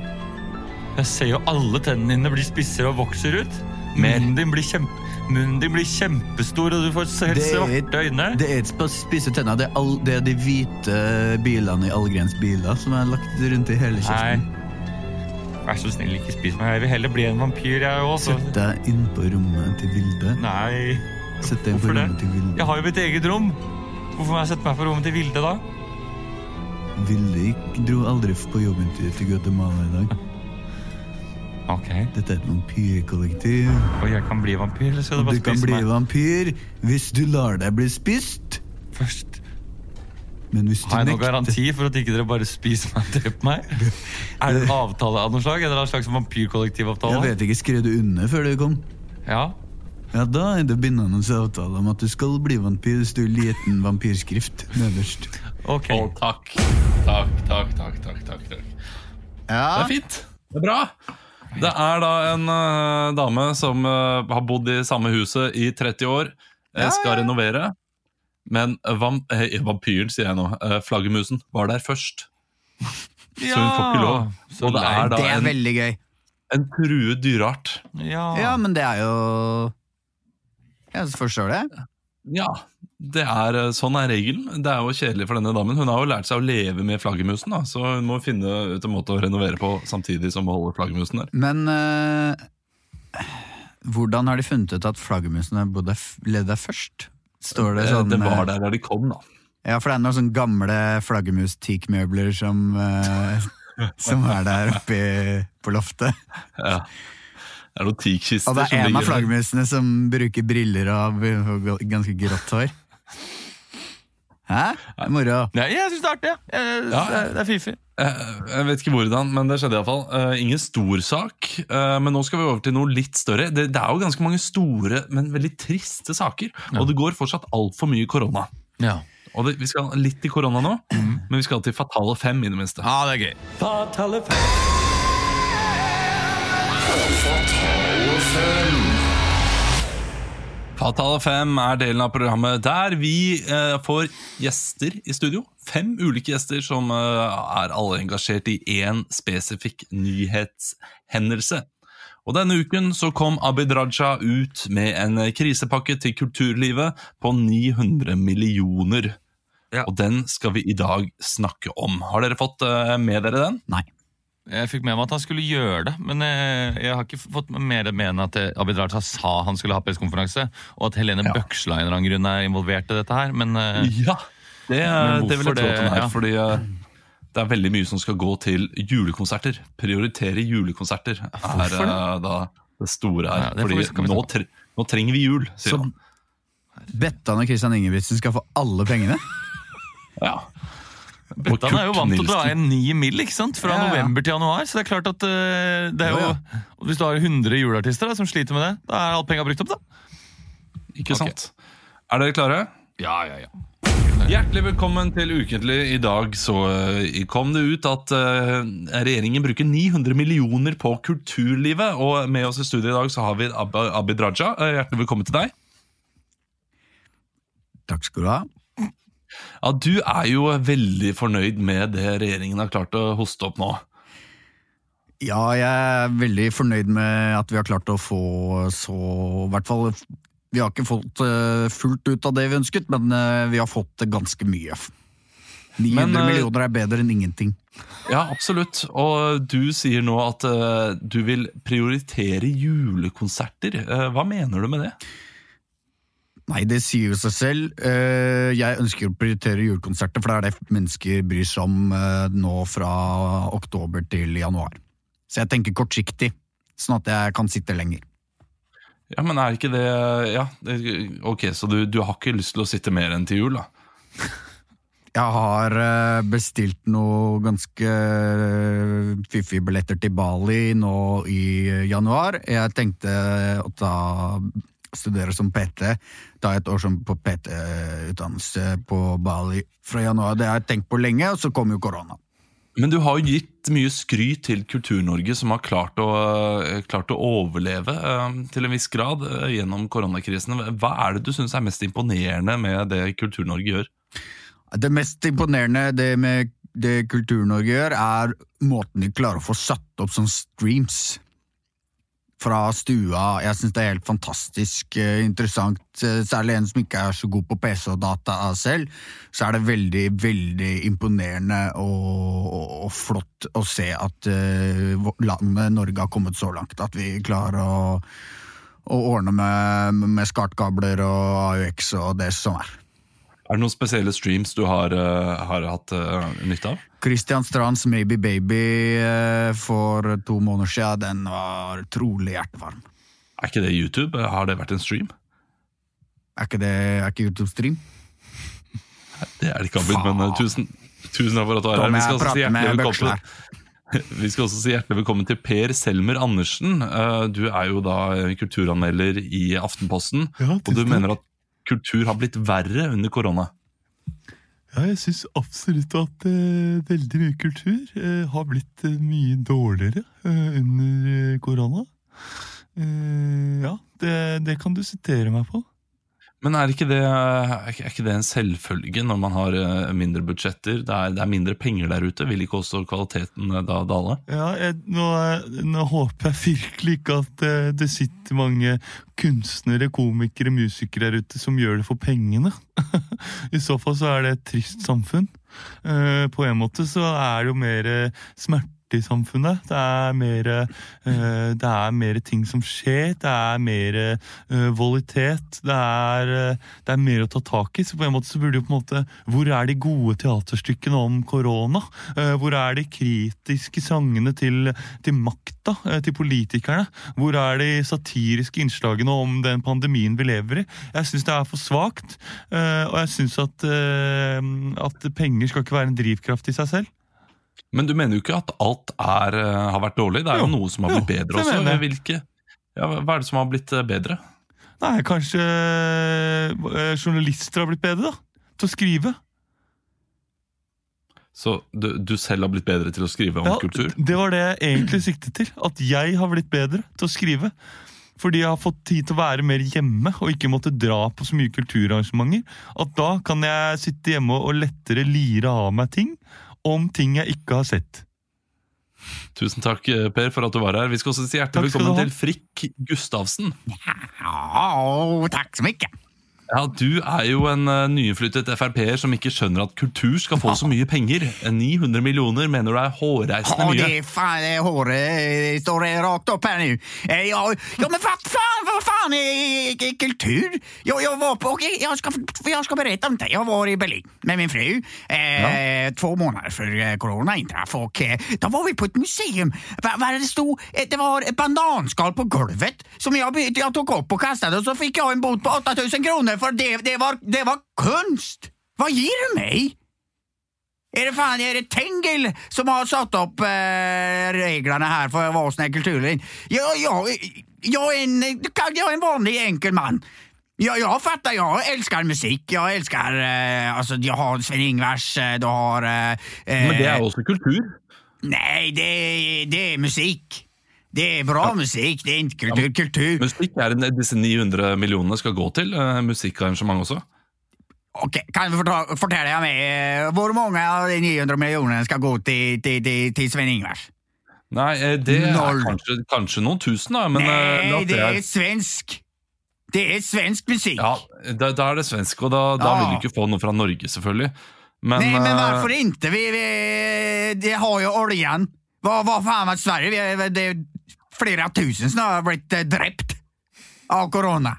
Jeg ser jo alle tennene dine blir spissere og vokser ut. Munnen din blir, kjempe, munnen din blir kjempestor, og du får helt Det er- svarte øyne. Det er ikke bare å spise tenna, det er, all, det er de hvite bilene i Allgrens biler som er lagt rundt i hele kjeften. Nei. Vær så snill, ikke spis meg. Jeg vil heller bli en vampyr, jeg òg. Sett deg inn på rommet til Vilde. Nei. Sett deg inn på Hvorfor det? rommet til Vilde. Jeg har jo mitt eget rom. Hvorfor må jeg sette meg på rommet til Vilde, da? Vilde gikk- dro aldri på jobben til til Guatemala i dag. Ok, Dette er et vampyrkollektiv. Og jeg kan bli vampyr, eller skal du Du bare kan spise bli meg vampyr hvis du lar deg bli spist. først? Men hvis du Har jeg noen nekter garanti for at ikke dere bare spiser meg og dreper meg? Er det en avtale av noe slag? Er det en slags Jeg vampyrkollektivavtale? vet ikke, skrev du under før du kom? Ja. Ja, da er det bindende avtale om at du skal bli vampyr. Det står liten vampyrskrift nederst. Ok. Å, takk. Takk, takk, takk, takk, takk, takk. Det er fint. Det er bra. Det er da en eh, dame som eh, har bodd i samme huset i 30 år, eh, skal renovere. Men vam eh, vampyren, sier jeg nå. Uh, flaggermusen var der først. Så hun får ikke lov. Så Og det lei. er da Det er en, veldig gøy. en truet dyreart. Ja. Ja, men det er jo Jeg forstår det. Ja, det er, sånn er regelen. Det er jo kjedelig for denne damen. Hun har jo lært seg å leve med flaggermusen, da, så hun må finne ut en måte å renovere på samtidig som hun holder flaggermusen der. Men eh, hvordan har de funnet ut at flaggermusene bodde f- levde der først? Står det Eh, sånn det var eh, der da de kom, da. Ja, for det er noen sånne gamle flaggermus-teakmøbler som, eh, som er der oppe i- på loftet. Ja. Det er noen teakkister Og det er som en av ligger der. flaggermusene som bruker briller og har ganske grått hår. Hæ? Moro. Nei, jeg syns det er artig. Ja. Jeg, Ja. Det, er, det er fiffig. Eh, Jeg vet ikke hvordan, men det skjedde iallfall. Uh, ingen stor sak. eh, men nå skal vi over til noe litt større. Det, det er jo ganske mange store, men veldig triste saker. Og det går fortsatt altfor mye korona. Ja. Og det, Vi skal litt til korona nå, Mm. men vi skal til Fatale fem, i det minste. ja, det er gøy. Fatale fem er delen av programmet der vi eh, får gjester i studio. Fem ulike gjester som eh, er alle engasjert i én spesifikk nyhetshendelse. Og denne uken så kom Abid Raja ut med en eh, krisepakke til kulturlivet på 900 millioner. Ja. Og den skal vi i dag snakke om. Har dere fått eh, med dere den? Jeg fikk med meg at han skulle gjøre det, men jeg, jeg har ikke fått mer med enn at eh, Abid Raja sa han skulle ha pressekonferanse, og at Helene Bøksla av en eller annen grunn er involvert i dette her. Men eh, Ja, det, Men det vil jeg hvorfor tro at den det- er. ja. Fordi eh, det er veldig mye som skal gå til julekonserter. Prioritere julekonserter er Hvorfor det? eh, da det store her. Ja, det får vi- kan fordi vi nå, snakke tre, nå trenger vi jul, sier Så han. Bettan og Christian Ingebrigtsen skal få alle pengene? Ja. Og Bettan er jo Kurt vant til å dra Nilsen. inn ni mil, ikke sant? Fra Ja, ja. november til januar. Så det er klart at eh, det er jo Ja, og Hvis du har 100 juleartister da, som sliter med det, da er all penga brukt opp, da. Ikke sant? Er dere klare? Hjertelig velkommen til Ukentlig. I dag så eh, kom det ut at eh, regjeringen bruker 900 millioner på kulturlivet. Og med oss i studio i dag så har vi Ab Abid Raja. Eh, Hjertelig velkommen til deg. Takk skal du ha. Ja, Du er jo veldig fornøyd med det regjeringen har klart å hoste opp nå. Ja, jeg er veldig fornøyd med at vi har klart å få så I hvert fall Vi har ikke fått eh, fullt ut av det vi ønsket, men eh, vi har fått ganske mye. 900 Men, eh, millioner er bedre enn ingenting. Ja, absolutt. Og du sier nå at eh, du vil prioritere julekonserter. Eh, hva mener du med det? Nei, det sier jo seg selv. Eh, Jeg ønsker å prioritere julekonserter, for det er det mennesker bryr seg om eh, nå fra oktober til januar. Så jeg tenker kortsiktig, sånn at jeg kan sitte lenger. Ja, men er ikke det Ja, det, ok, så du, du har ikke lyst til å sitte mer enn til jul, da? Jeg har eh, bestilt noen ganske eh, fiffige billetter til Bali nå i eh, januar. Jeg tenkte å ta studere som PT, ta et år som på PT-utdannelse på Bali fra januar. Det har jeg tenkt på lenge, og så kom jo korona. Men du har jo gitt mye skryt til Kultur-Norge, som har klart å, eh, klart å overleve eh, til en viss grad eh, gjennom koronakrisen. Hva er det du syns er mest imponerende med det Kultur-Norge gjør? Det mest imponerende det med det Kultur-Norge gjør, er måten de klarer å få satt opp som streams fra stua. Jeg syns det er helt fantastisk eh, interessant. eh, Særlig en som ikke er så god på PC og data selv, så er det veldig, veldig imponerende og, og, og flott å se at eh, vårt landet Norge har kommet så langt at vi klarer å, å ordne med, med skartkabler og AUX og det som er. Er det noen spesielle streams du har, eh, har hatt eh, nytte av? Christian Strands Maybe Baby eh, for to måneder siden, den var trolig hjertevarm. Er ikke det YouTube? Har det vært en stream? Er ikke det er ikke YouTube-stream? Det er det ikke, Abid, men eh, tusen, tusen takk for at du er Da her. må Vi jeg skal, også si prate med hjertelig Bøksle. velkommen. Vi skal også si hjertelig velkommen til Per Selmer Andersen. Eh, Du er jo da kulturanmelder i Aftenposten, og du mener at kultur har blitt verre under korona. Ja, jeg syns absolutt at eh, veldig mye kultur eh, har blitt eh, mye dårligere eh, under eh, korona. Eh, ja, det, det kan du sitere meg på. Men er ikke det, er ikke- er ikke det en selvfølge når man har eh, mindre budsjetter? Det er, det er mindre penger der ute. Vil ikke også kvaliteten eh, da dale? Ja, jeg, nå, eh, nå håper jeg virkelig ikke at eh, det sitter mange kunstnere, komikere, musikere der ute som gjør det for pengene. I så fall så er det et trist samfunn. Eh, på en måte så er det jo mer eh, smerte partysamfunnet. Det er mer, eh, det er mer ting som skjer, det er mer eh, volitet. Det er, eh, det er mer å ta tak i. Så på en måte så burde jo på en måte Hvor er de gode teaterstykkene om korona? Eh, Hvor er de kritiske sangene til, til makta, eh, til politikerne? Hvor er de satiriske innslagene om den pandemien vi lever i? Jeg syns det er for svakt. eh, Og jeg syns at, eh, at penger skal ikke være en drivkraft i seg selv. Men du mener jo ikke at alt er, eh, har vært dårlig? Det er jo, Jo, noe som har jo, blitt bedre det også. mener jeg. Hvilke, ja, hva er det som har blitt eh, bedre? Nei, kanskje eh, journalister har blitt bedre, da. Til å skrive. Så du, du selv har blitt bedre til å skrive om Ja, kultur? Det var det jeg egentlig siktet til. At jeg har blitt bedre til å skrive. Fordi jeg har fått tid til å være mer hjemme og ikke måtte dra på så mye kulturarrangementer. At da kan jeg sitte hjemme og lettere lire av meg ting om ting jeg ikke har sett. Tusen takk, eh, Per, for at du var her. Vi skal også si Takk hjertelig skal du velkommen ha. til Frikk Gustavsen. Au, takk så mye. Ja, Du er jo en eh, nyinnflyttet Frp-er som ikke skjønner at kultur skal få så mye penger. 900 millioner mener du er hårreisende Å, mye. det faen, det håret eh, står eh, rakt opp her nå. Eh, Ja, ja men hva faen, hva faen eh, k- kultur? Jo, jeg var på, ok, jeg skal, jeg skal berette om det. Jeg var i Berlin med min fru eh, två månader før eh, corona intraff och eh, då var vi på ett museum. Va, va, det, stod, eh, det var ett bananskal på golvet som jag, by- jag tog upp och kastade och så fick jag en bot på 8000 kronor för det, det, var, det var kunst. Vad ger du mig? Er det faen er det Tengel som har satt opp eh, reglene her for hva som er kulturen? Ja, ja, jeg er en, jeg er en vanlig enkel mann. Ja, jeg fatter, jeg elsker musikk. Jeg elsker eh, Altså, jeg har Svein Ingvars, eh, du har eh, Men det eh, er jo også kultur. Nei, det, det er musikk. Det er bra musikk, det er ikke kultur. kultur. Musikk er en, disse 900 millionene skal gå til. eh, Musikkarrangement også. Ok, Kan du forta- fortelle meg eh, hvor mange av de 900 millionene skal gå til, til, til, til Svein Ingvars? Nei, eh, det er Null. kanskje, kanskje noen tusen, da. Men eh, la Nei, oss det se er her. svensk. Det er svensk musikk. ja, da, da er det svensk, og da, da vil Ja. du ikke få noe fra Norge, selvfølgelig. Men, Nei, men eh, hvorfor ikke? Vi, vi, de har jo oljen. Hva, hva faen med Sverige? Vi, er- det er flere tusen som har blitt eh, drept av korona.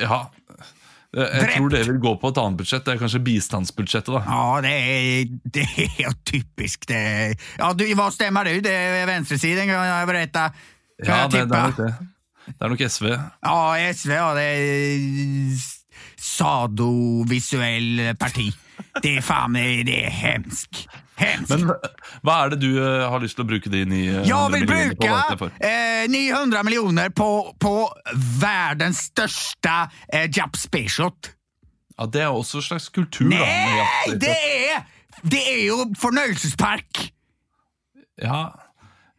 Ja. Eh, Jeg Drept. tror det vil gå på et annet budsjett. Det er kanskje bistandsbudsjettet, da. Ja, det er, det er jo typisk det. Ja, du, hva stemmer du? Det er venstresiden, kan jeg berette. Kan Ja, jeg det, det er tippe? nok det. Det er nok SV. Ja, SV, ja, det er sadovisuell parti. Det er faen meg, det er hemsk. Hemsk. Men hva er det du eh, har lyst til å bruke de 900 Jeg vil millionene Eh, på? bruke hva er det for? eh, 900 millioner på, på verdens største eh, Jap Spaceshot. Ja, det er også en slags kultur, da. med Nei, jakt- det er, det er jo fornøyelsespark! Ja,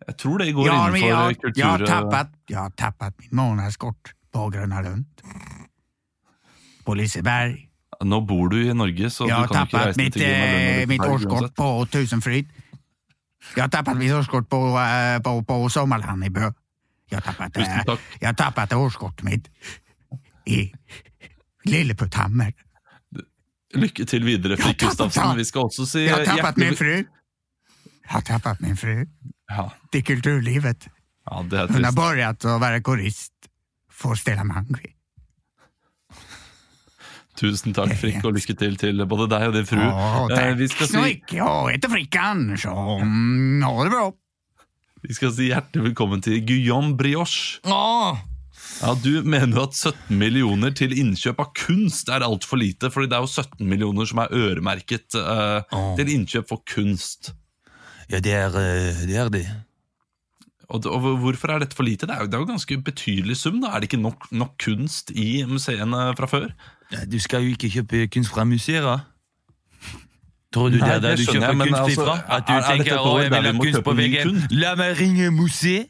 jeg tror det går Jeg har- innenfor jeg har- eh, kultur... jeg har eh, tappat, jeg har tappat min månedskort på Grønna Lund. På Liseberg. Nå bor du i Norge, så Jeg har du kan ikke tappat reise mitt, til eh, Grønland. mitt altså. årskort på Tusenfryd. Jeg har tappat mitt årskort på, eh, på, på Sommerland i Bø. Jeg har tappat det. Tusen takk. Jeg har tappat årskortet mitt i Lilleputthammer. Lykke til videre, Jeg har Frikk tappet Gustavsen. alt. Vi skal også si Jeg har eh, tappat hjertelig- min fru. Jeg har tappat min fru Ja, til kulturlivet. ja, det er Hun har trist. begynt å være korist for Stella Mangvi. Tusen takk, Frikk, og lykke til til både deg og din fru. Å, Eh, takk vi, skal så si, mycket. Jeg heter Frikk Andersson. Ha det bra. vi skal si hjertelig velkommen til Guillaume Brioche. Åh! Ja, Du mener jo at 17 millioner til innkjøp av kunst er altfor lite, fordi det er jo 17 millioner som er øremerket eh, Åh. til innkjøp for kunst. Ja, det er eh, det. Er det. Og, og Hvorfor er dette for lite? Det er jo, det er jo ganske betydelig sum. da. Er det ikke nok, nok kunst i museene eh, fra før? Ja, Du skal jo ikke kjøpe kunst fra museer. da. Tror du det Nei, er der det du skjønner jeg, kjøper men kunst altså, ifra? At du er- er dette tenker et å, år jeg der vil vi ha må kunst kjøpe på ny veggen. kunst? La meg ringe museet!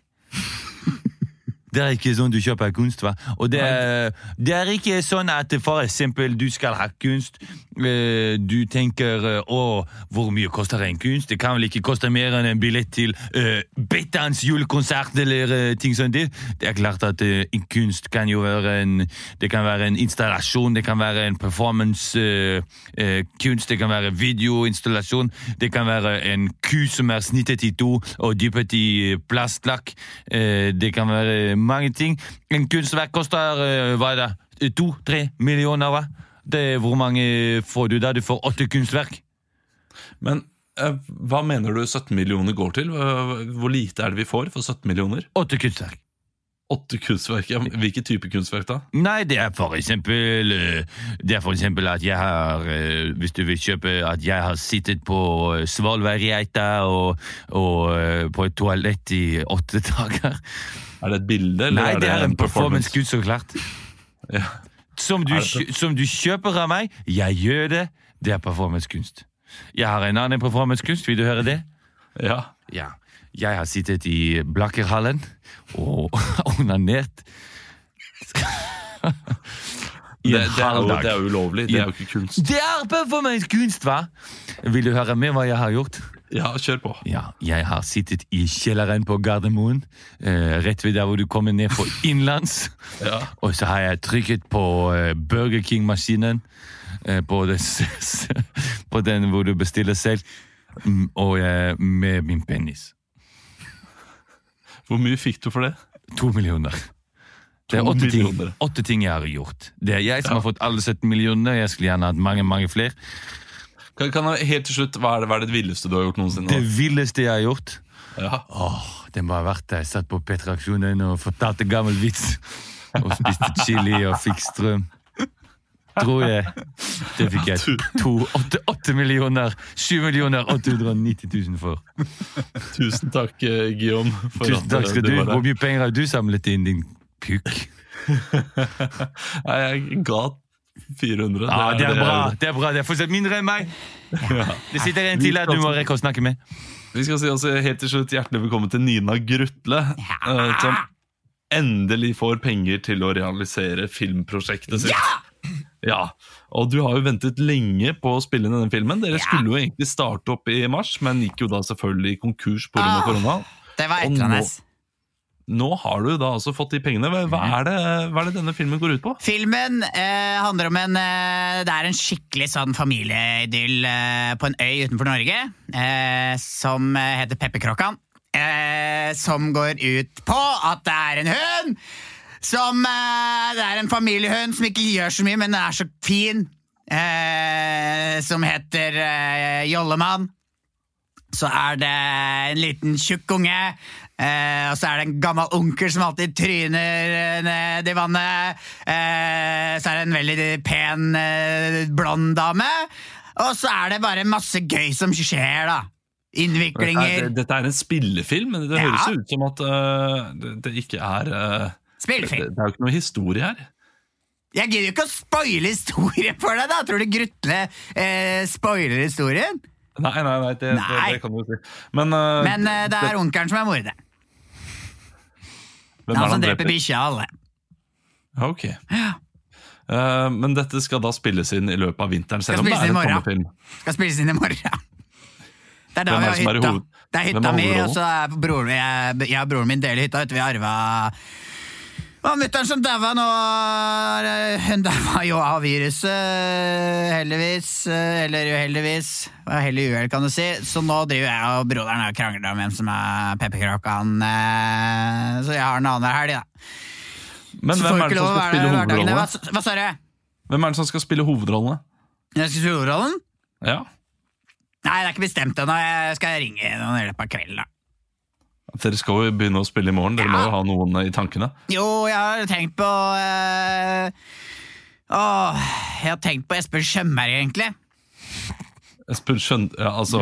Det er ikke sånn du kjøper kunst, hva? Og det er, det er ikke sånn at for eksempel du skal ha kunst, eh, du tenker eh, å, hvor mye koster en kunst? Det kan vel ikke koste mer enn en billett til eh, Bettans julekonsert eller eh, ting som det. Det er klart at eh, en kunst kan jo være en, det kan være en installasjon, det kan være en performance eh, eh, kunst, det kan være videoinstallasjon, det kan være en ku som er snittet i to og dypet i eh, plastlakk. Eh, Det kan være mange ting. En kunstverk koster eh, hva er det, to-tre millioner, hva? Det er hvor mange får du da? Du får åtte kunstverk. Men eh, hva mener du 17 millioner går til? Hva- Hvor lite er det vi får for 17 millioner? Åtte kunstverk. Åtte kunstverk, ja. Hvilken type kunstverk da? Nei, det er for eksempel eh, Det er for eksempel at jeg har eh, Hvis du vil kjøpe At jeg har sittet på eh, Svalbardgeita og, og eh, på et toalett i åtte dager. Er det et bilde? Eller Nei, er det er en performance? performance-gud, så klart. Som, du, Er det kjø- som du kjøper av meg. Jeg gjør det. Det er performancekunst. Jeg har en annen performancekunst. Vil du høre det? Ja. Ja. Jeg har sittet i Blakkerhallen og onanert. I Det, en det, er halv jo, dag. det er jo ulovlig. Det er jo ikke kunst. Det er performancekunst, hva? Vil du høre med hva jeg har gjort? Ja, kjør på. Ja, jeg har sittet i kjelleren på Gardermoen, eh, rett ved der hvor du kommer ned på innlands. Ja. Og så har jeg trykket på eh, Burger King-maskinen, eh, på, det s- s- på den hvor du bestiller selv, Mm, og eh, med min penis. Hvor mye fikk du for det? To millioner. Det er To åtte ting, millioner. åtte ting jeg har gjort. Det er jeg som har fått alle 17 millioner, jeg skulle gjerne hatt mange, mange flere. Kan, kan jeg, helt til slutt, hva er, det, hva er det villeste du har gjort noensinne? Det villeste jeg har gjort, Ja. Åh, det må ha vært da jeg satt på P-traksjonen og fortalte gammel vits. Og spiste chili og fikk strøm. Tror jeg. Det fikk jeg to, åtte, åtte millioner, 7 millioner 890 000 for. Tusen takk, eh, Guillaume. for Tusen at, takk eh, skal du. var her. Hvor mye penger har du samlet inn, din kuk? Nei, jeg ga 400. Ja, Ah, det er jeg bra. gjorde. Det er bra. Det er fortsatt mindre enn meg. Det sitter en til her du må rekke å snakke med. Vi skal si også helt til slutt hjertelig velkommen til Nina Grutle, eh, som endelig får penger til å realisere filmprosjektet sitt. Ja! Og du har jo ventet lenge på å spille inn denne filmen. Dere skulle jo egentlig starte opp i mars, men gikk jo da selvfølgelig konkurs pga. Ah. korona. Det var Og nå- Nå har du da altså fått de pengene. Hva, hva, er, det, hva er det denne filmen går ut på? Filmen eh, handler om en eh, Det er en skikkelig sånn familieidyll eh, på en øy utenfor Norge eh, som eh, heter Pepperkråkan. Eh, som går ut på at det er en hund som eh, Det er en familiehund som ikke gjør så mye, men den er så fin. Eh, som heter eh, Jollemann så er det en liten tjukk unge, eh, og så er det en gammel onkel som alltid tryner eh, ned i vannet. Eh, så er det en veldig pen, eh, blond dame. Og så er det bare masse gøy som skjer, da. Dette er, Innviklinger. dette er en spillefilm, men det Ja. høres jo ut som at øh, det, det ikke er øh, det, det Spillefilm. er jo ikke noe historie her. Jeg gidder jo ikke å spoile historien for deg, da! Tror du Grutle eh, spoiler historien? Nei, nei, nei, det, Det, Nei. det kan du si. Men, øh, Men eh, det er onkelen som er morderen. hvem er altså, det Han som dreper bikkja og alle. Ja, Ok. Eh, men dette skal da spilles inn i løpet av vinteren, Skal selv om det er spilles en inn i morgen. sommerfilm. Skal spilles inn i morgen. Det er da Hvem vi er det har som er i hytta. hoved- Det er Hvem hytta er mi, og hovedrollen? så er broren min, jeg, jeg og broren min deler hytta. vet du. Vi arva Det var mutter'n som daua nå. eh, Hun daua jo av viruset, heldigvis. eh, Eller uheldigvis. Det var Hell i uhell, kan du si. Så nå driver jeg og broderen og krangler om hvem som er pepperkrakan. eh, Så jeg har en annen helg, da. Men Så hvem får er, ikke det lov som å skal være spille der i hverdagene. hovedrollene? Hva, hva sa du? hvem er det som skal spille hovedrollene? Jeg skal spille hovedrollen? Ja. Nei, det er ikke bestemt ennå. Jeg skal ringe noen i løpet av kvelden. da. Dere skal jo begynne å spille i morgen, dere må jo ha noen i tankene. Jo, jeg har tenkt på eh, Åh, jeg har tenkt på Espen Sjømberg, egentlig. Jeg spør, skjøn, ja, altså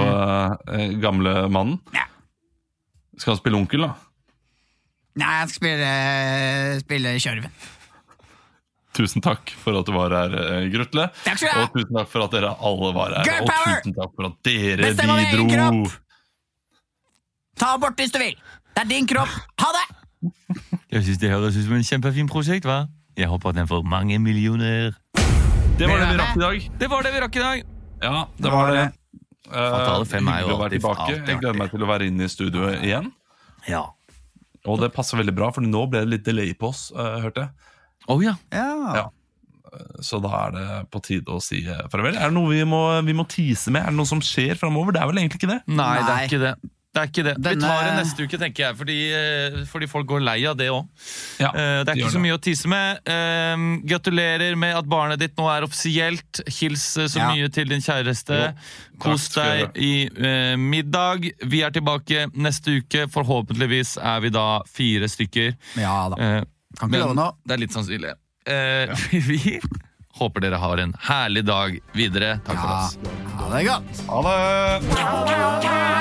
eh, gamle mannen. Ja. Skal han spille onkel, da? Nei, jeg skal spille, eh, spille Kjørven. Tusen takk for at du var her, eh, Grutle. Takk skal du ha. Og tusen takk for at dere alle var her. Girl og power! tusen takk for at dere Bestem over egen bidro. kropp! Ta abort hvis du vil. Det er din kropp. Ha det! Jeg syns det høres ut som en kjempefin prosjekt, hva? Jeg håper den får mange millioner. Det var det vi rakk i dag. Det var det vi rakk i dag! Ja, det var det. Eh, Fatale fem er jo hyggelig å være alltid- tilbake. alltid Jeg gleder meg til å være inne i studio igjen. Ja. Og det passer veldig bra, for nå ble det litt delay på oss, eh, hørte jeg. Å ja. Ja. Så da er det på tide å si eh, farvel. Er det noe vi må, vi må tease med? Er det noe som skjer framover? Det er vel egentlig ikke det. Nei, det Nei. er ikke det. Det er ikke det. Denne- Vi tar det neste uke, tenker jeg, fordi, eh, fordi folk går lei av det òg. Ja, det er gjør ikke så mye å tisse med. Eh, gratulerer med at barnet ditt nå er offisielt. Hils eh, så Ja. mye til din kjæreste. Kos skal deg i eh, middag. Vi er tilbake neste uke. Forhåpentligvis er vi da fire stykker. Ja da. Eh, Kan ikke love men noe. det er litt sannsynlig. Eh, Vi håper dere har en herlig dag videre. Takk for Ja. oss. Ha det godt. Ha det! Bra.